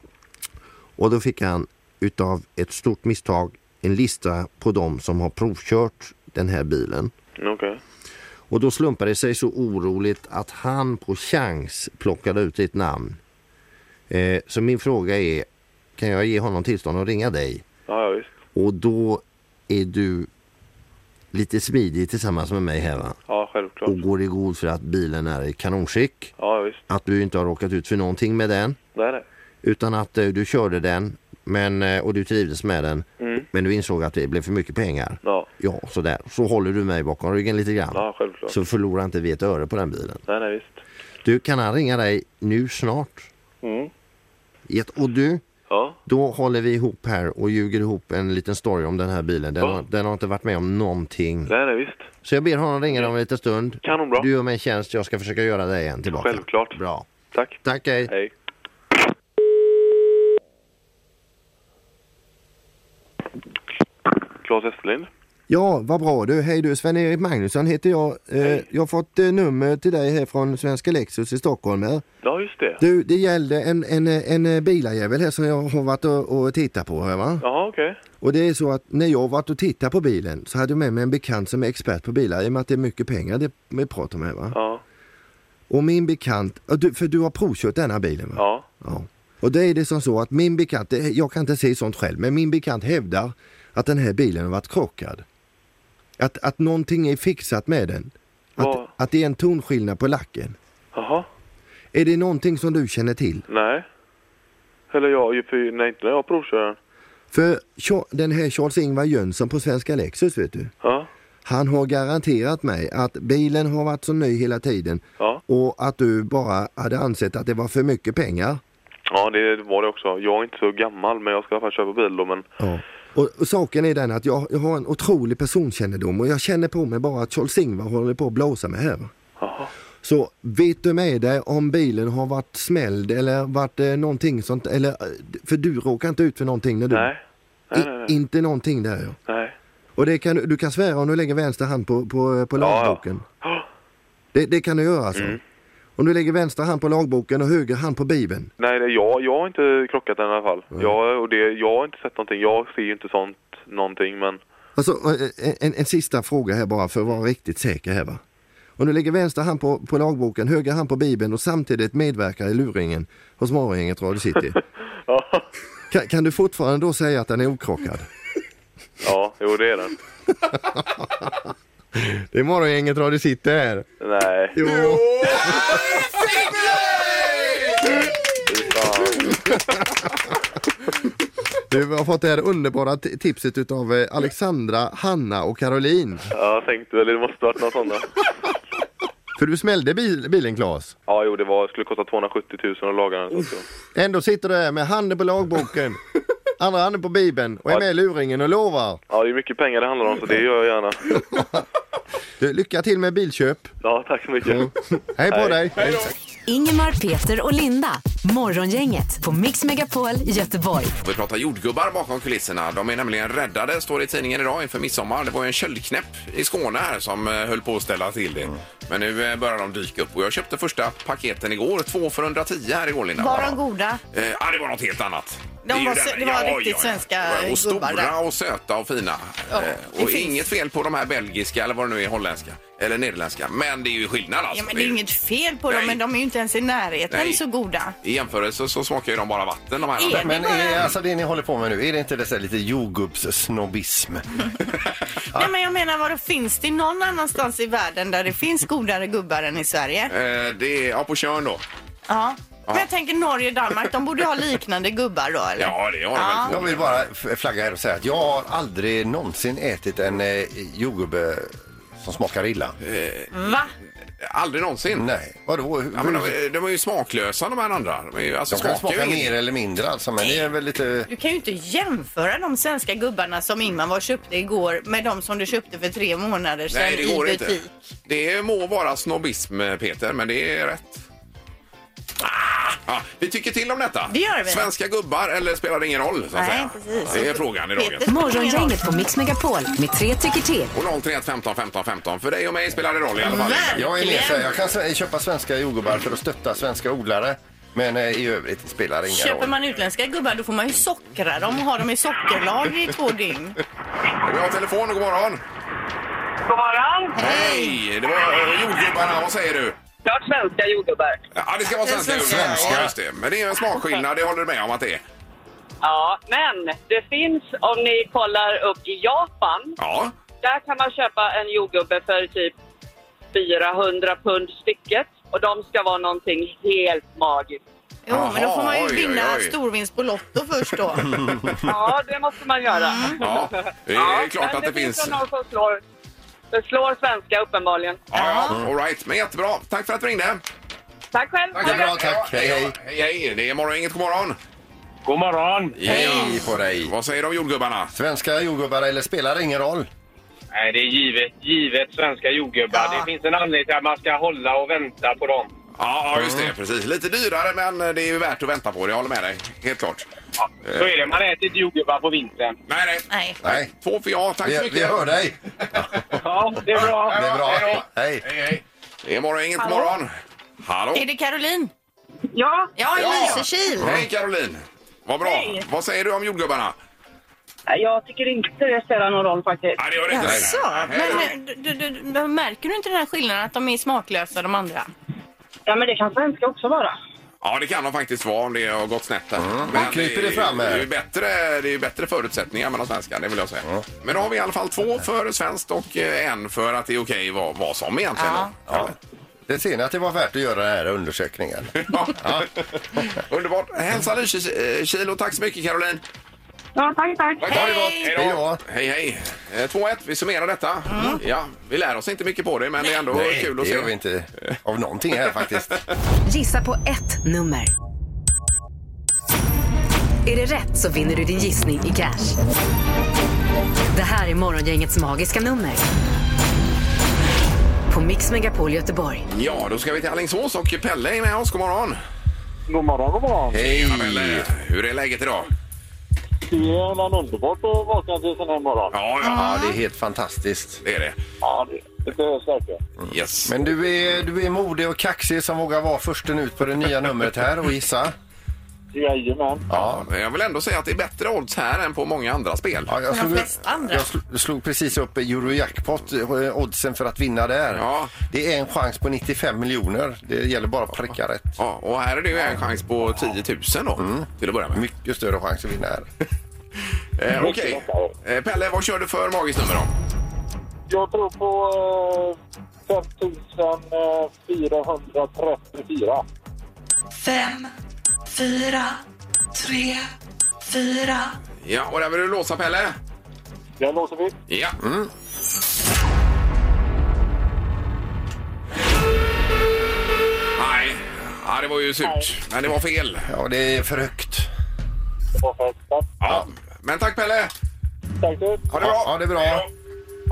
Speaker 9: Och då fick han utav ett stort misstag en lista på de som har provkört den här bilen.
Speaker 7: Mm, Okej.
Speaker 9: Och då slumpade det sig så oroligt att han på chans plockade ut ditt namn. Eh, så min fråga är, kan jag ge honom tillstånd att ringa dig?
Speaker 7: Ja, ja, visst.
Speaker 9: Och då är du lite smidig tillsammans med mig här va?
Speaker 7: Ja, självklart.
Speaker 9: Och går i god för att bilen är i kanonskick.
Speaker 7: Ja, visst.
Speaker 9: Att du inte har råkat ut för någonting med den.
Speaker 7: Nej, nej.
Speaker 9: Utan att eh, du körde den men, eh, och du trivdes med den. Men du insåg att det blev för mycket pengar.
Speaker 7: Mm. Ja.
Speaker 9: Ja, sådär. Så håller du mig bakom ryggen lite grann.
Speaker 7: Ja, självklart.
Speaker 9: Så förlorar inte vi ett öre på den bilen.
Speaker 7: Nej, nej, visst.
Speaker 9: Du, kan han ringa dig nu snart?
Speaker 7: Mm.
Speaker 9: Jätte- Och du,
Speaker 7: Ja,
Speaker 9: då håller vi ihop här och ljuger ihop en liten story om den här bilen. Den,
Speaker 7: Ja.
Speaker 9: har, den har inte varit med om någonting.
Speaker 7: nej, nej, visst.
Speaker 9: Så jag ber honom ringa dig om en liten stund.
Speaker 7: Kanonbra.
Speaker 9: Du gör mig en tjänst, jag ska försöka göra dig en tillbaka.
Speaker 7: Självklart.
Speaker 9: Bra.
Speaker 7: Tack.
Speaker 9: Tack, hej.
Speaker 7: Hej. Claes Österlind.
Speaker 9: Ja, vad bra du. Hej du, Sven-Erik Magnusson heter jag. Eh, jag har fått eh, nummer till dig här från Svenska Lexus i Stockholm. Här.
Speaker 7: Ja, just det.
Speaker 9: Du, det gällde en, en, eh, en eh, bilarjävel här som jag har varit och, och tittat på. Här, va?
Speaker 7: Jaha, okej.
Speaker 9: Och det är så att när jag varit och tittat på bilen så hade jag med mig en bekant som är expert på bilar i och med att det är mycket pengar det vi pratar om här va.
Speaker 7: Ja,
Speaker 9: Och min bekant, ja, du, för du har provkört denna bilen va?
Speaker 7: ja,
Speaker 9: Ja. Och det är det som så att min bekant, det- jag kan inte säga sånt själv, men min bekant hävdar att den här bilen har varit krockad. Att, att någonting är fixat med den.
Speaker 7: Vad?
Speaker 9: Att, att det är en tonskillnad på lacken.
Speaker 7: jaha.
Speaker 9: Är det någonting som du känner till?
Speaker 7: Nej. Eller jag, för, nej inte när jag provkör den.
Speaker 9: För Cha- den här Charles-Ingvar Jönsson på Svenska Lexus vet du.
Speaker 7: Ja,
Speaker 9: Han har garanterat mig att bilen har varit så ny hela tiden
Speaker 7: Ja.
Speaker 9: och att du bara hade ansett att det var för mycket pengar.
Speaker 7: ja det var det också. Jag är inte så gammal men jag ska i alla fall köpa bil då men
Speaker 9: Ja. Och, och saken är den att jag, jag har en otrolig personkännedom och jag känner på mig bara att Charles-Ingvar håller på att blåsa mig här.
Speaker 7: jaha.
Speaker 9: Så vet du med dig om bilen har varit smälld eller varit eh, någonting sånt eller eh, för du råkar inte ut för någonting när du...
Speaker 7: Nej. Nej, nej,
Speaker 9: I,
Speaker 7: nej.
Speaker 9: inte någonting där ja.
Speaker 7: nej.
Speaker 9: Och det kan, du- du kan svära om du lägger vänster hand på, på, på
Speaker 7: ja.
Speaker 9: lagboken.
Speaker 7: Ja. Mm.
Speaker 9: Det, det kan du göra alltså. Om du lägger vänster hand på lagboken och höger hand på bibeln.
Speaker 7: Nej, det, jag, jag har inte krockat den i alla fall. Jag, och det, jag har inte sett någonting. Jag ser ju inte sånt någonting men
Speaker 9: Alltså, eh, en, en sista fråga här bara för att vara riktigt säker här va. Om du lägger vänster hand på, på lagboken, höger hand på bibeln och samtidigt medverkar i luringen hos morgongänget Radio City.
Speaker 7: ja.
Speaker 9: kan, kan du fortfarande då säga att den är okrockad?
Speaker 7: Ja, jo det är den.
Speaker 9: Det är morgongänget Radio City här.
Speaker 7: Nej,
Speaker 9: Jo.
Speaker 7: fy fan.
Speaker 9: Du har fått det här underbara t- tipset utav eh, Alexandra, Hanna och Caroline.
Speaker 7: Ja, Jag tänkte väl det måste varit något sånt.
Speaker 9: För du smällde bil, bilen Claes.
Speaker 7: Ja, jo det var, skulle kosta 270 000 att laga den. så att-
Speaker 9: Ändå sitter du här med handen på lagboken, andra handen på bibeln och är med i luringen och lovar.
Speaker 7: Ja, det är mycket pengar det handlar om så det gör jag gärna.
Speaker 9: Du, lycka till med bilköp.
Speaker 7: Ja, tack så mycket.
Speaker 9: Hej på
Speaker 7: Hej.
Speaker 9: dig!
Speaker 1: Ingemar, Peter och Linda. Morgongänget på Mix Megapol i Göteborg.
Speaker 2: Vi pratar jordgubbar bakom kulisserna. De är nämligen räddade, står det i tidningen idag inför midsommar. Det var ju en köldknäpp i Skåne här som eh, höll på att ställa till det. Men nu eh, börjar de dyka upp och jag köpte första paketen igår. Två för 110 här igår Linda.
Speaker 3: Var de goda?
Speaker 2: Eh, ja, det var något helt annat.
Speaker 3: De
Speaker 2: är ju
Speaker 3: var
Speaker 2: den-
Speaker 3: sö- det var riktigt svenska
Speaker 2: Det var- Och
Speaker 3: gubbar
Speaker 2: stora
Speaker 3: där.
Speaker 2: och söta och fina. eh,
Speaker 3: det
Speaker 2: och
Speaker 3: finns.
Speaker 2: inget fel på de här belgiska eller vad det nu är, holländska. Eller nederländska. Men det är ju skillnad alltså.
Speaker 3: Ja, men det är inget fel på
Speaker 2: Nej.
Speaker 3: dem, men de är ju inte ens i närheten
Speaker 2: Nej.
Speaker 3: så goda.
Speaker 2: I jämförelse så smakar ju de bara vatten de här.
Speaker 3: Är
Speaker 2: andra.
Speaker 4: Men är, alltså det ni håller på med nu, är det inte det så här lite jordgubbssnobbism?
Speaker 3: Nej, men jag menar, vadå, finns det någon annanstans i världen där det finns godare gubbar än i Sverige?
Speaker 2: Eh, det är, ja, på Tjörn då.
Speaker 3: Ja. Men jag tänker Norge och Danmark, de borde ha liknande gubbar då, eller?
Speaker 2: Ja, det har de väl.
Speaker 4: Jag vill bara f- flagga här och säga att jag har aldrig någonsin ätit en eh, jordgubbe som smakar illa.
Speaker 2: Mm.
Speaker 3: Va?
Speaker 2: Aldrig någonsin.
Speaker 4: Nej, vadå? Hur,
Speaker 2: Ja, men de, de är ju smaklösa de här andra. De, är ju, alltså,
Speaker 4: de kan
Speaker 2: smakar ju
Speaker 4: smaka
Speaker 2: ingenting.
Speaker 4: mer eller mindre alltså, men det är väl lite...
Speaker 3: Du kan ju inte jämföra de svenska gubbarna som Ingmar var och köpte igår med de som du köpte för tre månader sedan
Speaker 2: Nej, det går
Speaker 3: i
Speaker 2: inte.
Speaker 3: butik.
Speaker 2: Det må vara snobbism, Peter, men det är rätt. Ah! Ja, vi tycker till om detta.
Speaker 3: Det gör vi.
Speaker 2: Svenska gubbar eller spelar det ingen roll? Så att
Speaker 3: Nej,
Speaker 2: säga.
Speaker 3: precis.
Speaker 2: Det är frågan i dagen.
Speaker 3: Peter.
Speaker 1: Morgongänget på Mix Megapol med tre tycker till.
Speaker 2: Och 031 15 15 15. För dig och mig spelar det roll i alla fall.
Speaker 4: Jag är med så här, jag kan s- köpa svenska jordgubbar för att stötta svenska odlare. Men eh, i övrigt spelar det ingen
Speaker 3: Köper
Speaker 4: roll.
Speaker 3: man utländska gubbar då får man ju sockra dem och ha dem i sockerlag i två dygn.
Speaker 2: Vi har telefon. God morgon.
Speaker 6: God morgon!
Speaker 2: Hej! Det var eh, jordgubbarna. Vad säger du?
Speaker 6: Klart svenska jordgubbar.
Speaker 2: Ja, det ska vara svenska jordgubbar. Ja, just det. Men det är en smakskillnad, det håller du med om att det är.
Speaker 6: Ja, men det finns om ni kollar upp i Japan
Speaker 2: Ja.
Speaker 6: Där kan man köpa en jordgubbe för typ 400 pund stycket. Och de ska vara någonting helt magiskt.
Speaker 3: Jo, men då får man ju
Speaker 2: Jaha, oj,
Speaker 3: vinna
Speaker 2: oj, oj.
Speaker 3: storvinst på Lotto först då.
Speaker 6: Ja, det måste man göra.
Speaker 2: Ja, det är
Speaker 6: Ja,
Speaker 2: Mm. klart
Speaker 6: men
Speaker 2: att det, finns.
Speaker 6: finns nog någon som slår, det slår svenska uppenbarligen.
Speaker 2: Ja, ja, all right. Men jättebra. Tack för att du ringde.
Speaker 6: Tack själv!
Speaker 4: Det är bra, tack. Hej, hej.
Speaker 2: Hej, hej. Det är morgon, inget god morgon.
Speaker 7: God morgon!
Speaker 4: Hej på dig.
Speaker 2: Vad säger du om jordgubbarna?
Speaker 4: Svenska jordgubbar eller spelar ingen roll.
Speaker 7: Nej, det är givet, givet svenska jordgubbar.
Speaker 3: Ja.
Speaker 7: Det finns en anledning till att man ska hålla och vänta på dem.
Speaker 2: Ja, ja, just
Speaker 4: Mm.
Speaker 2: det. Precis. Lite dyrare, men det är ju värt att vänta på. Jag håller med dig. Helt klart.
Speaker 7: Ja, så är det. Man äter inte jordgubbar på vintern.
Speaker 2: Nej, nej.
Speaker 3: Nej.
Speaker 4: Nej,
Speaker 2: Två för ja. Tack så
Speaker 4: vi,
Speaker 2: mycket.
Speaker 4: vi hör dig.
Speaker 7: Ja, det är bra.
Speaker 4: Det är bra.
Speaker 2: Hej då.
Speaker 4: Hej.
Speaker 2: Hej, hej. Det är morgon, inget god morgon. Hallå.
Speaker 3: Är det Caroline?
Speaker 6: Ja,
Speaker 3: Ja, i
Speaker 2: Ja.
Speaker 3: Lysekil.
Speaker 2: Hej, Caroline. Vad bra.
Speaker 6: Hej.
Speaker 2: Vad säger du om jordgubbarna?
Speaker 6: jag tycker inte det spelar någon roll faktiskt.
Speaker 2: Nej, det gör det inte.
Speaker 3: Jaså?
Speaker 2: Nej, nej.
Speaker 3: Men du, du, du, men märker du inte den här skillnaden att de är smaklösa de andra?
Speaker 6: Ja, men det kan svenska också vara.
Speaker 2: Ja, det kan de faktiskt vara om det har gått snett där.
Speaker 4: Nu Mm. kryper det fram
Speaker 2: det
Speaker 4: här.
Speaker 2: är ju bättre, det är ju bättre förutsättningar mellan svenskar, det vill jag säga. Men då har vi i alla fall två för svenskt och eh, en för att det är okej vad, vad som egentligen.
Speaker 3: Ja.
Speaker 2: då. Ja.
Speaker 4: Det ser ni att det var värt att göra den här undersökningen.
Speaker 2: Ja. Underbart. Hälsa Lysekil och tack så mycket Caroline.
Speaker 6: Ja, tack, tack.
Speaker 2: Tack, ha det gott.
Speaker 4: Hej
Speaker 2: Hej då.
Speaker 4: då.
Speaker 2: Hej, hej. Eh, 2-1, vi summerar detta. Ja, vi lär oss inte mycket på det, men det är ändå kul att
Speaker 4: Mm. det
Speaker 2: se.
Speaker 4: gör vi inte av någonting här faktiskt.
Speaker 1: Gissa på ett nummer. Är det rätt så vinner du din gissning i cash. Det här är Morgongängets magiska nummer. På Mix Megapol Göteborg.
Speaker 2: Ja, då ska vi till Alingsås och Pelle är med oss. God morgon.
Speaker 7: God morgon, god morgon.
Speaker 4: Hej!
Speaker 2: Pelle, hur är läget idag?
Speaker 7: Det är någon underbart att vakna till sån här morgon.
Speaker 2: Ja, ja,
Speaker 4: Ja, det är helt fantastiskt.
Speaker 2: det är det.
Speaker 7: Ja, det, det behövs verkligen.
Speaker 2: Yes.
Speaker 4: Men du är, du är modig och kaxig som vågar vara försten ut på det nya numret här och gissa.
Speaker 7: Jajamän.
Speaker 2: Ja, men jag vill ändå säga att det är bättre odds här än på många andra spel.
Speaker 4: Ja, jag,
Speaker 3: de flesta andra.
Speaker 4: jag sl- slog precis upp Eurojackpot, eh, oddsen för att vinna där.
Speaker 2: Ja.
Speaker 4: Det är en chans på 95 miljoner. Det gäller bara att pricka rätt.
Speaker 2: Ja, och här är det ju en chans på 10 000 då, till att börja med.
Speaker 4: Mm. Mycket större chans att vinna här.
Speaker 2: Eh, Okej. Eh, Pelle, vad kör du för magiskt nummer då?
Speaker 7: Jag tror på eh, 5434.
Speaker 10: Fem, fyra, tre, fyra.
Speaker 2: Ja, och där vill du låsa Pelle?
Speaker 7: Jag låter vi.
Speaker 2: Ja. Nej, ja, det var ju surt. Men det var fel.
Speaker 4: Ja, det är för högt.
Speaker 7: Perfekt.
Speaker 2: Ja. Men tack Pelle!
Speaker 7: Tack du.
Speaker 2: Ha det bra!
Speaker 4: Ja, det är bra.
Speaker 2: Hej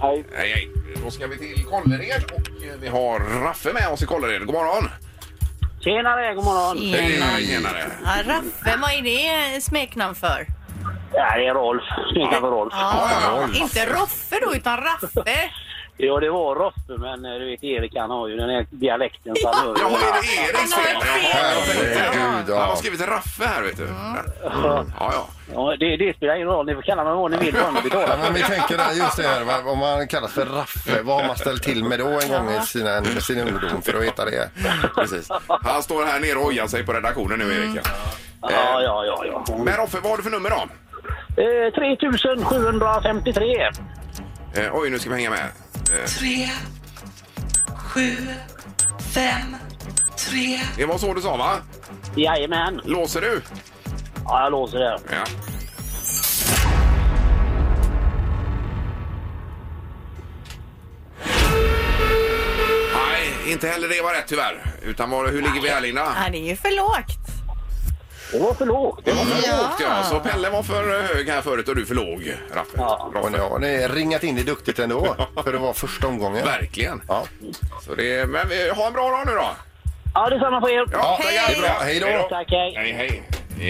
Speaker 7: Hej.
Speaker 2: då. Hej, hej. Då ska vi till Kållered och eh, vi har Raffe med oss i Kållered. God morgon!
Speaker 6: Tjenare, god morgon.
Speaker 2: Tjenare, tjenare!
Speaker 3: Ja, Raffe, vad är det smeknamn för?
Speaker 6: Ja, det är Rolf. Snyggt för Rolf.
Speaker 3: Ja,
Speaker 2: Rolf.
Speaker 3: inte Roffe då, utan Raffe.
Speaker 6: Ja, det var Roffe, men eh, du vet Erik han har ju den här dialekten så han hör ju
Speaker 2: Ja,
Speaker 6: det.
Speaker 2: är Mm. det Eriks
Speaker 3: Han har
Speaker 2: fel?
Speaker 3: ett
Speaker 2: Jaha, jag
Speaker 3: fel.
Speaker 2: tänkte-
Speaker 4: Herregud,
Speaker 2: Han har
Speaker 4: ja.
Speaker 2: skrivit Raffe här, vet du. Ja, ja.
Speaker 6: Ja, det, det spelar ingen roll, ni får kalla mig vad ni vill bara ni
Speaker 4: Ja,
Speaker 6: betalar.
Speaker 4: men vi tänker där, just det här, vad- om man kallas för Raffe, vad har man ställt till med då en gång i sina, sin ungdom för att heta det?
Speaker 2: Precis. Han står här nere och ojar sig på redaktionen nu, Erik.
Speaker 6: Ja, ja, ja. ja.
Speaker 2: Men Roffe, vad har du för nummer då?
Speaker 6: Eh, 3753.
Speaker 2: Eh, oj, nu ska vi hänga med. Eh,
Speaker 10: Tre, sju, fem, tre.
Speaker 2: det var så du sa, va?
Speaker 6: Jajamän.
Speaker 2: Låser du?
Speaker 6: Ja, jag låser det.
Speaker 2: Ja. Nej, inte heller det var rätt tyvärr. Utan var, hur ligger vi här, Linda?
Speaker 3: Ja, det är ju för lågt.
Speaker 6: Det var för lågt.
Speaker 2: Det var för lågt, ja. Så Pelle var för hög här förut och du för låg, Raffe.
Speaker 6: Ja.
Speaker 4: Och nu har ni ringat in det duktigt ändå för att vara första omgången.
Speaker 2: Verkligen.
Speaker 4: Ja.
Speaker 2: Så det, men vi- ha en bra dag nu då.
Speaker 6: Ja, detsamma på er.
Speaker 2: Ja,
Speaker 4: Hej.
Speaker 2: tackar.
Speaker 4: Det är bra. Hej då.
Speaker 6: Tack, hej.
Speaker 2: Hej, hej.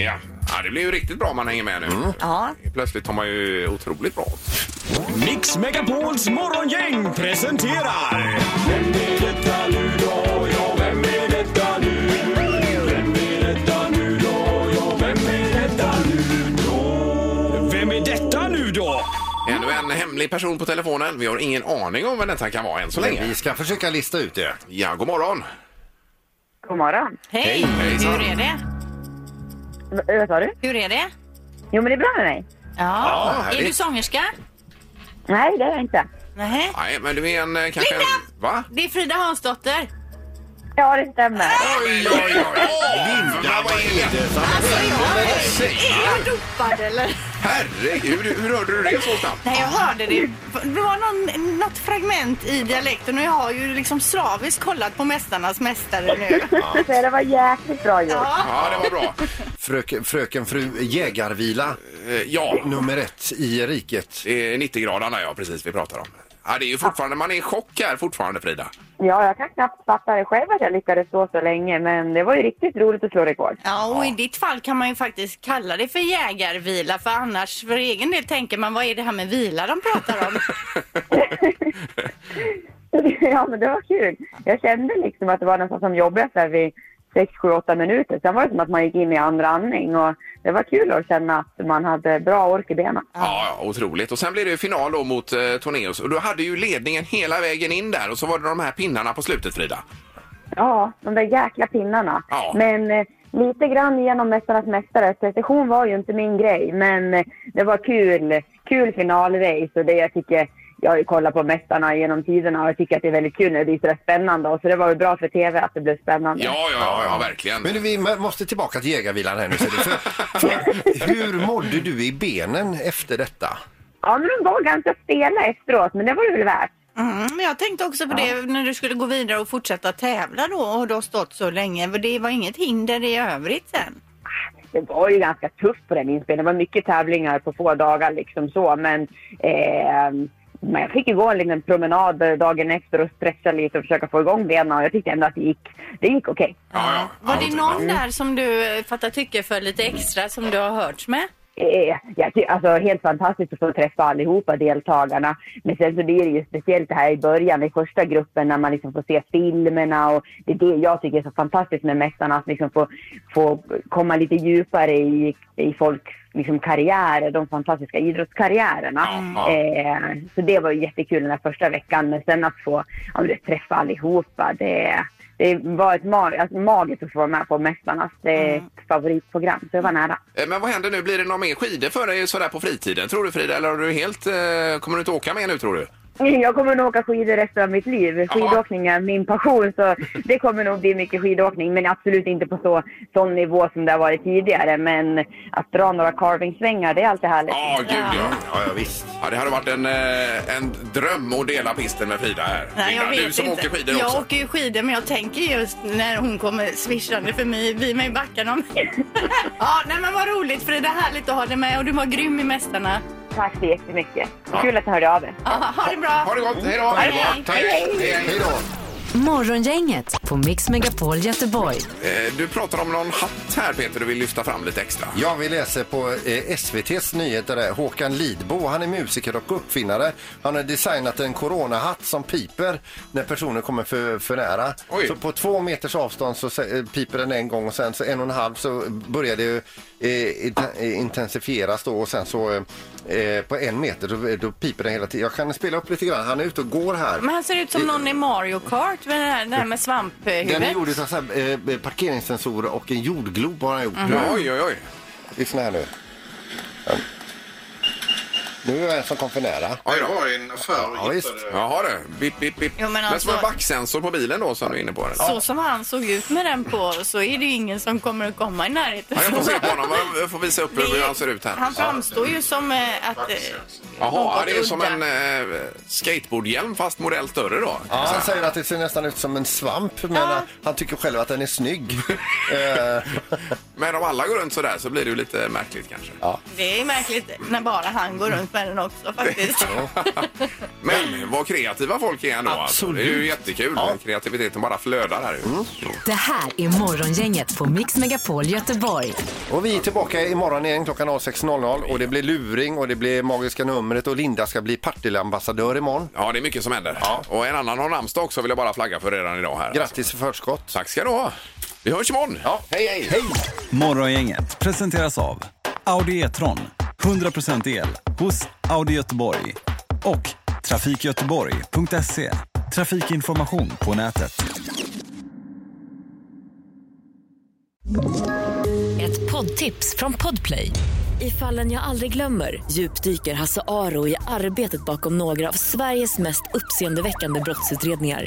Speaker 2: Ja. ja, det blir ju riktigt bra om man hänger med nu.
Speaker 6: Mm.
Speaker 3: Ja.
Speaker 2: Plötsligt har man ju otroligt bra.
Speaker 11: Mix Megapols morgongäng presenterar... Vem är detta nu då? Ja, vem är detta nu? Vem är detta nu då? Ja, vem är detta nu då? Vem är detta nu då?
Speaker 2: Ännu en hemlig person på telefonen. Vi har ingen aning om vem detta kan vara än så
Speaker 4: Men vi
Speaker 2: länge.
Speaker 4: ska försöka lista ut det.
Speaker 2: Ja, god morgon.
Speaker 6: God morgon.
Speaker 3: Hej,
Speaker 2: hejsan.
Speaker 3: hur är det?
Speaker 12: eh,
Speaker 6: Vad sa du?
Speaker 3: Hur är det?
Speaker 6: Jo, men det är bra med mig.
Speaker 3: Ja.
Speaker 2: härligt.
Speaker 3: är du sångerska?
Speaker 6: Nej, det är jag inte.
Speaker 3: Nej.
Speaker 2: Nej, men du är en eh, kanske...
Speaker 3: Linda!
Speaker 2: En, va?
Speaker 3: Det är Frida Hansdotter.
Speaker 12: Ja, det stämmer.
Speaker 2: Oj, oj, oj! Linda, vad är det som
Speaker 3: Är jag dopad eller?
Speaker 2: Herregud, hur hörde du det så snabbt?
Speaker 3: Nej, jag hörde det. Det var någon, något fragment i dialekten och jag har ju liksom slaviskt kollat på Mästarnas mästare nu.
Speaker 12: Så det var jäkligt bra gjort.
Speaker 2: Ja, det var bra.
Speaker 4: Fröken, fröken fru Jägarvila.
Speaker 2: Eh, ja.
Speaker 4: Nummer ett i riket.
Speaker 2: Det är 90-gradarna, ja, precis, vi pratar om. Ja, det är ju fortfarande, man är i chock här fortfarande, Frida.
Speaker 12: Ja, jag kan knappt fatta det själv att jag lyckades stå så länge, men det var ju riktigt roligt att slå rekord.
Speaker 3: Ja, och i ditt fall kan man ju faktiskt kalla det för jägarvila för annars för egen del tänker man vad är det här med vila de pratar om?
Speaker 12: ja, men det var kul. Jag kände liksom att det var nästan som jobbigast där vid 6, 7, 8 minuter. Sen var det som att man gick in i andra andning och det var kul att känna att man hade bra ork i benen.
Speaker 2: Ja, ja, otroligt. Och sen blev det ju final då mot eh, Tornéus. Och du hade ju ledningen hela vägen in där och så var det de här pinnarna på slutet, Frida.
Speaker 12: Ja, de där jäkla pinnarna.
Speaker 2: Ja.
Speaker 12: Men eh, lite grann genom Mästarnas mästare. Precision var ju inte min grej, men eh, det var kul. Kul finalrace och det jag tycker... Jag har ju kollat på Mästarna genom tiderna och jag tycker att det är väldigt kul när det blir sådär spännande. Och Så det var ju bra för TV att det blev spännande.
Speaker 2: Ja, ja, ja, ja verkligen.
Speaker 4: Men du, vi må- måste tillbaka till jägarvilan här nu. ser du. För, för, hur mådde du i benen efter detta?
Speaker 12: Ja, men de var ganska stela efteråt, men det var det väl värt.
Speaker 3: Mm, men jag tänkte också på det när du skulle gå vidare och fortsätta tävla då och du har stått så länge. För det var inget hinder i övrigt sen.
Speaker 12: Det var ju ganska tufft på den inspelningen. Det var mycket tävlingar på få dagar liksom så, men... Eh, men jag fick ju gå en liten promenad eh, dagen efter och stretcha lite och försöka få igång benen och jag tyckte ändå att det gick, det gick okej.
Speaker 2: Ja,
Speaker 3: Var det någon där som du eh, fattar tycke för lite extra som du har hört med?
Speaker 12: Eh, jag ty- alltså, helt fantastiskt att få träffa allihopa deltagarna. Men sen så blir det ju speciellt det här i början, i första gruppen, när man liksom får se filmerna. Och det är det jag tycker är så fantastiskt med Mästarna, att liksom få, få komma lite djupare i, i folks liksom, karriärer, de fantastiska idrottskarriärerna.
Speaker 2: ja.
Speaker 12: Eh, så det var ju jättekul den här första veckan, men sen att få ja, men det, träffa allihopa, det, det var ett mag- alltså, magiskt att få vara med på Mästarnas eh, favoritprogram, så det var nära.
Speaker 2: Eh, Men vad händer nu? Blir det några mer skidor för dig sådär på fritiden, tror du Frida? Eller har du helt, eh, kommer du inte åka mer nu, tror du?
Speaker 12: Jag kommer nog åka skidor resten av mitt liv. Skidåkning är min passion så det kommer nog bli mycket skidåkning men absolut inte på så, sån nivå som det har varit tidigare. Men att dra några carvingsvängar det är alltid härligt.
Speaker 2: Ja, gud ja.
Speaker 4: Ja, ja visst.
Speaker 2: ja. Det hade varit en, eh, en dröm att dela pisten med Frida här. Linda, du som åker skidor
Speaker 3: jag
Speaker 2: också.
Speaker 3: åker ju skidor men jag tänker just när hon kommer svischande för mig, vid mig i backen om. ja, nej men vad roligt Frida, härligt att ha dig med och du var grym i Mästarna.
Speaker 12: Tack så jättemycket. Kul att ni hörde av er.
Speaker 3: Ja, ha det bra!
Speaker 2: Ha det gott, hej då!
Speaker 3: Ha det bra.
Speaker 2: Tack. Hej då!
Speaker 1: Morgongänget på Mix Megapol Göteborg.
Speaker 2: Eh, Du pratar om någon hatt här Peter du vill lyfta fram lite extra.
Speaker 4: Ja, vi läser på eh, SVTs nyheter där. Håkan Lidbo, han är musiker och uppfinnare. Han har designat en coronahatt som piper när personer kommer för, för nära.
Speaker 2: Oj.
Speaker 4: Så på två meters avstånd så se- eh, piper den en gång och sen så en och en halv så börjar det ju, eh, int- eh, intensifieras då och sen så eh, eh, på en meter då, då piper den hela tiden. Jag kan spela upp lite grann. Han är ute och går här.
Speaker 3: Men han ser ut som någon i Mario Kart med det här, det här med svamphuvudet.
Speaker 4: Den är gjord av så här, eh, parkeringssensorer och en jordglob har han gjort.
Speaker 2: Oj, oj, oj.
Speaker 4: Lyssna här nu. Ja. Nu är det en som kom för nära.
Speaker 2: Oj då.
Speaker 13: var en affär
Speaker 4: Ja, visst.
Speaker 2: Jaha du. Bip, bip, bip.
Speaker 3: Jo, men
Speaker 2: men
Speaker 3: alltså-
Speaker 2: som en backsensor på bilen då som du är inne på? Eller?
Speaker 3: Så som han såg ut med den på så är det ju ingen som kommer att komma i närheten.
Speaker 2: Ja, jag får se på honom. Jag får visa upp hur han ser ut här.
Speaker 3: Han framstår ju som eh, att... eh,
Speaker 2: Jaha, ja, det är
Speaker 3: något
Speaker 2: som
Speaker 3: udda.
Speaker 2: en eh, skateboardhjälm fast modell större då.
Speaker 4: Ja, han säger att det ser nästan ut som en svamp, men eh, han tycker själv att den är snygg. Eh,
Speaker 2: Men om alla går runt sådär så blir det ju lite märkligt kanske.
Speaker 3: Det är märkligt när bara han går runt med den också faktiskt.
Speaker 2: Men vad kreativa folk är ändå. Alltså. Det är ju jättekul. Kreativiteten bara flödar här. ju.
Speaker 1: Det här är Morgongänget på Mix Megapol Göteborg.
Speaker 4: och vi är tillbaka imorgon igen klockan 06.00 och det blir luring och det blir magiska numret och Linda ska bli Partilleambassadör imorgon.
Speaker 2: Ja, det är mycket som händer. Och en annan har namnsdag också vill jag bara flagga för redan idag här.
Speaker 4: Grattis i förskott.
Speaker 2: Tack ska du ha. Vi hörs imorgon.
Speaker 4: Ja,
Speaker 2: Hej, hej. hej.
Speaker 11: Morgongänget presenteras av Audi E-tron. 100% el hos Audi Göteborg. Och trafikgöteborg.se. Trafikinformation på nätet.
Speaker 1: Ett poddtips från Podplay.
Speaker 13: I fallen jag aldrig glömmer djupdyker Hasse Aro i arbetet bakom några av Sveriges mest uppseendeväckande brottsutredningar.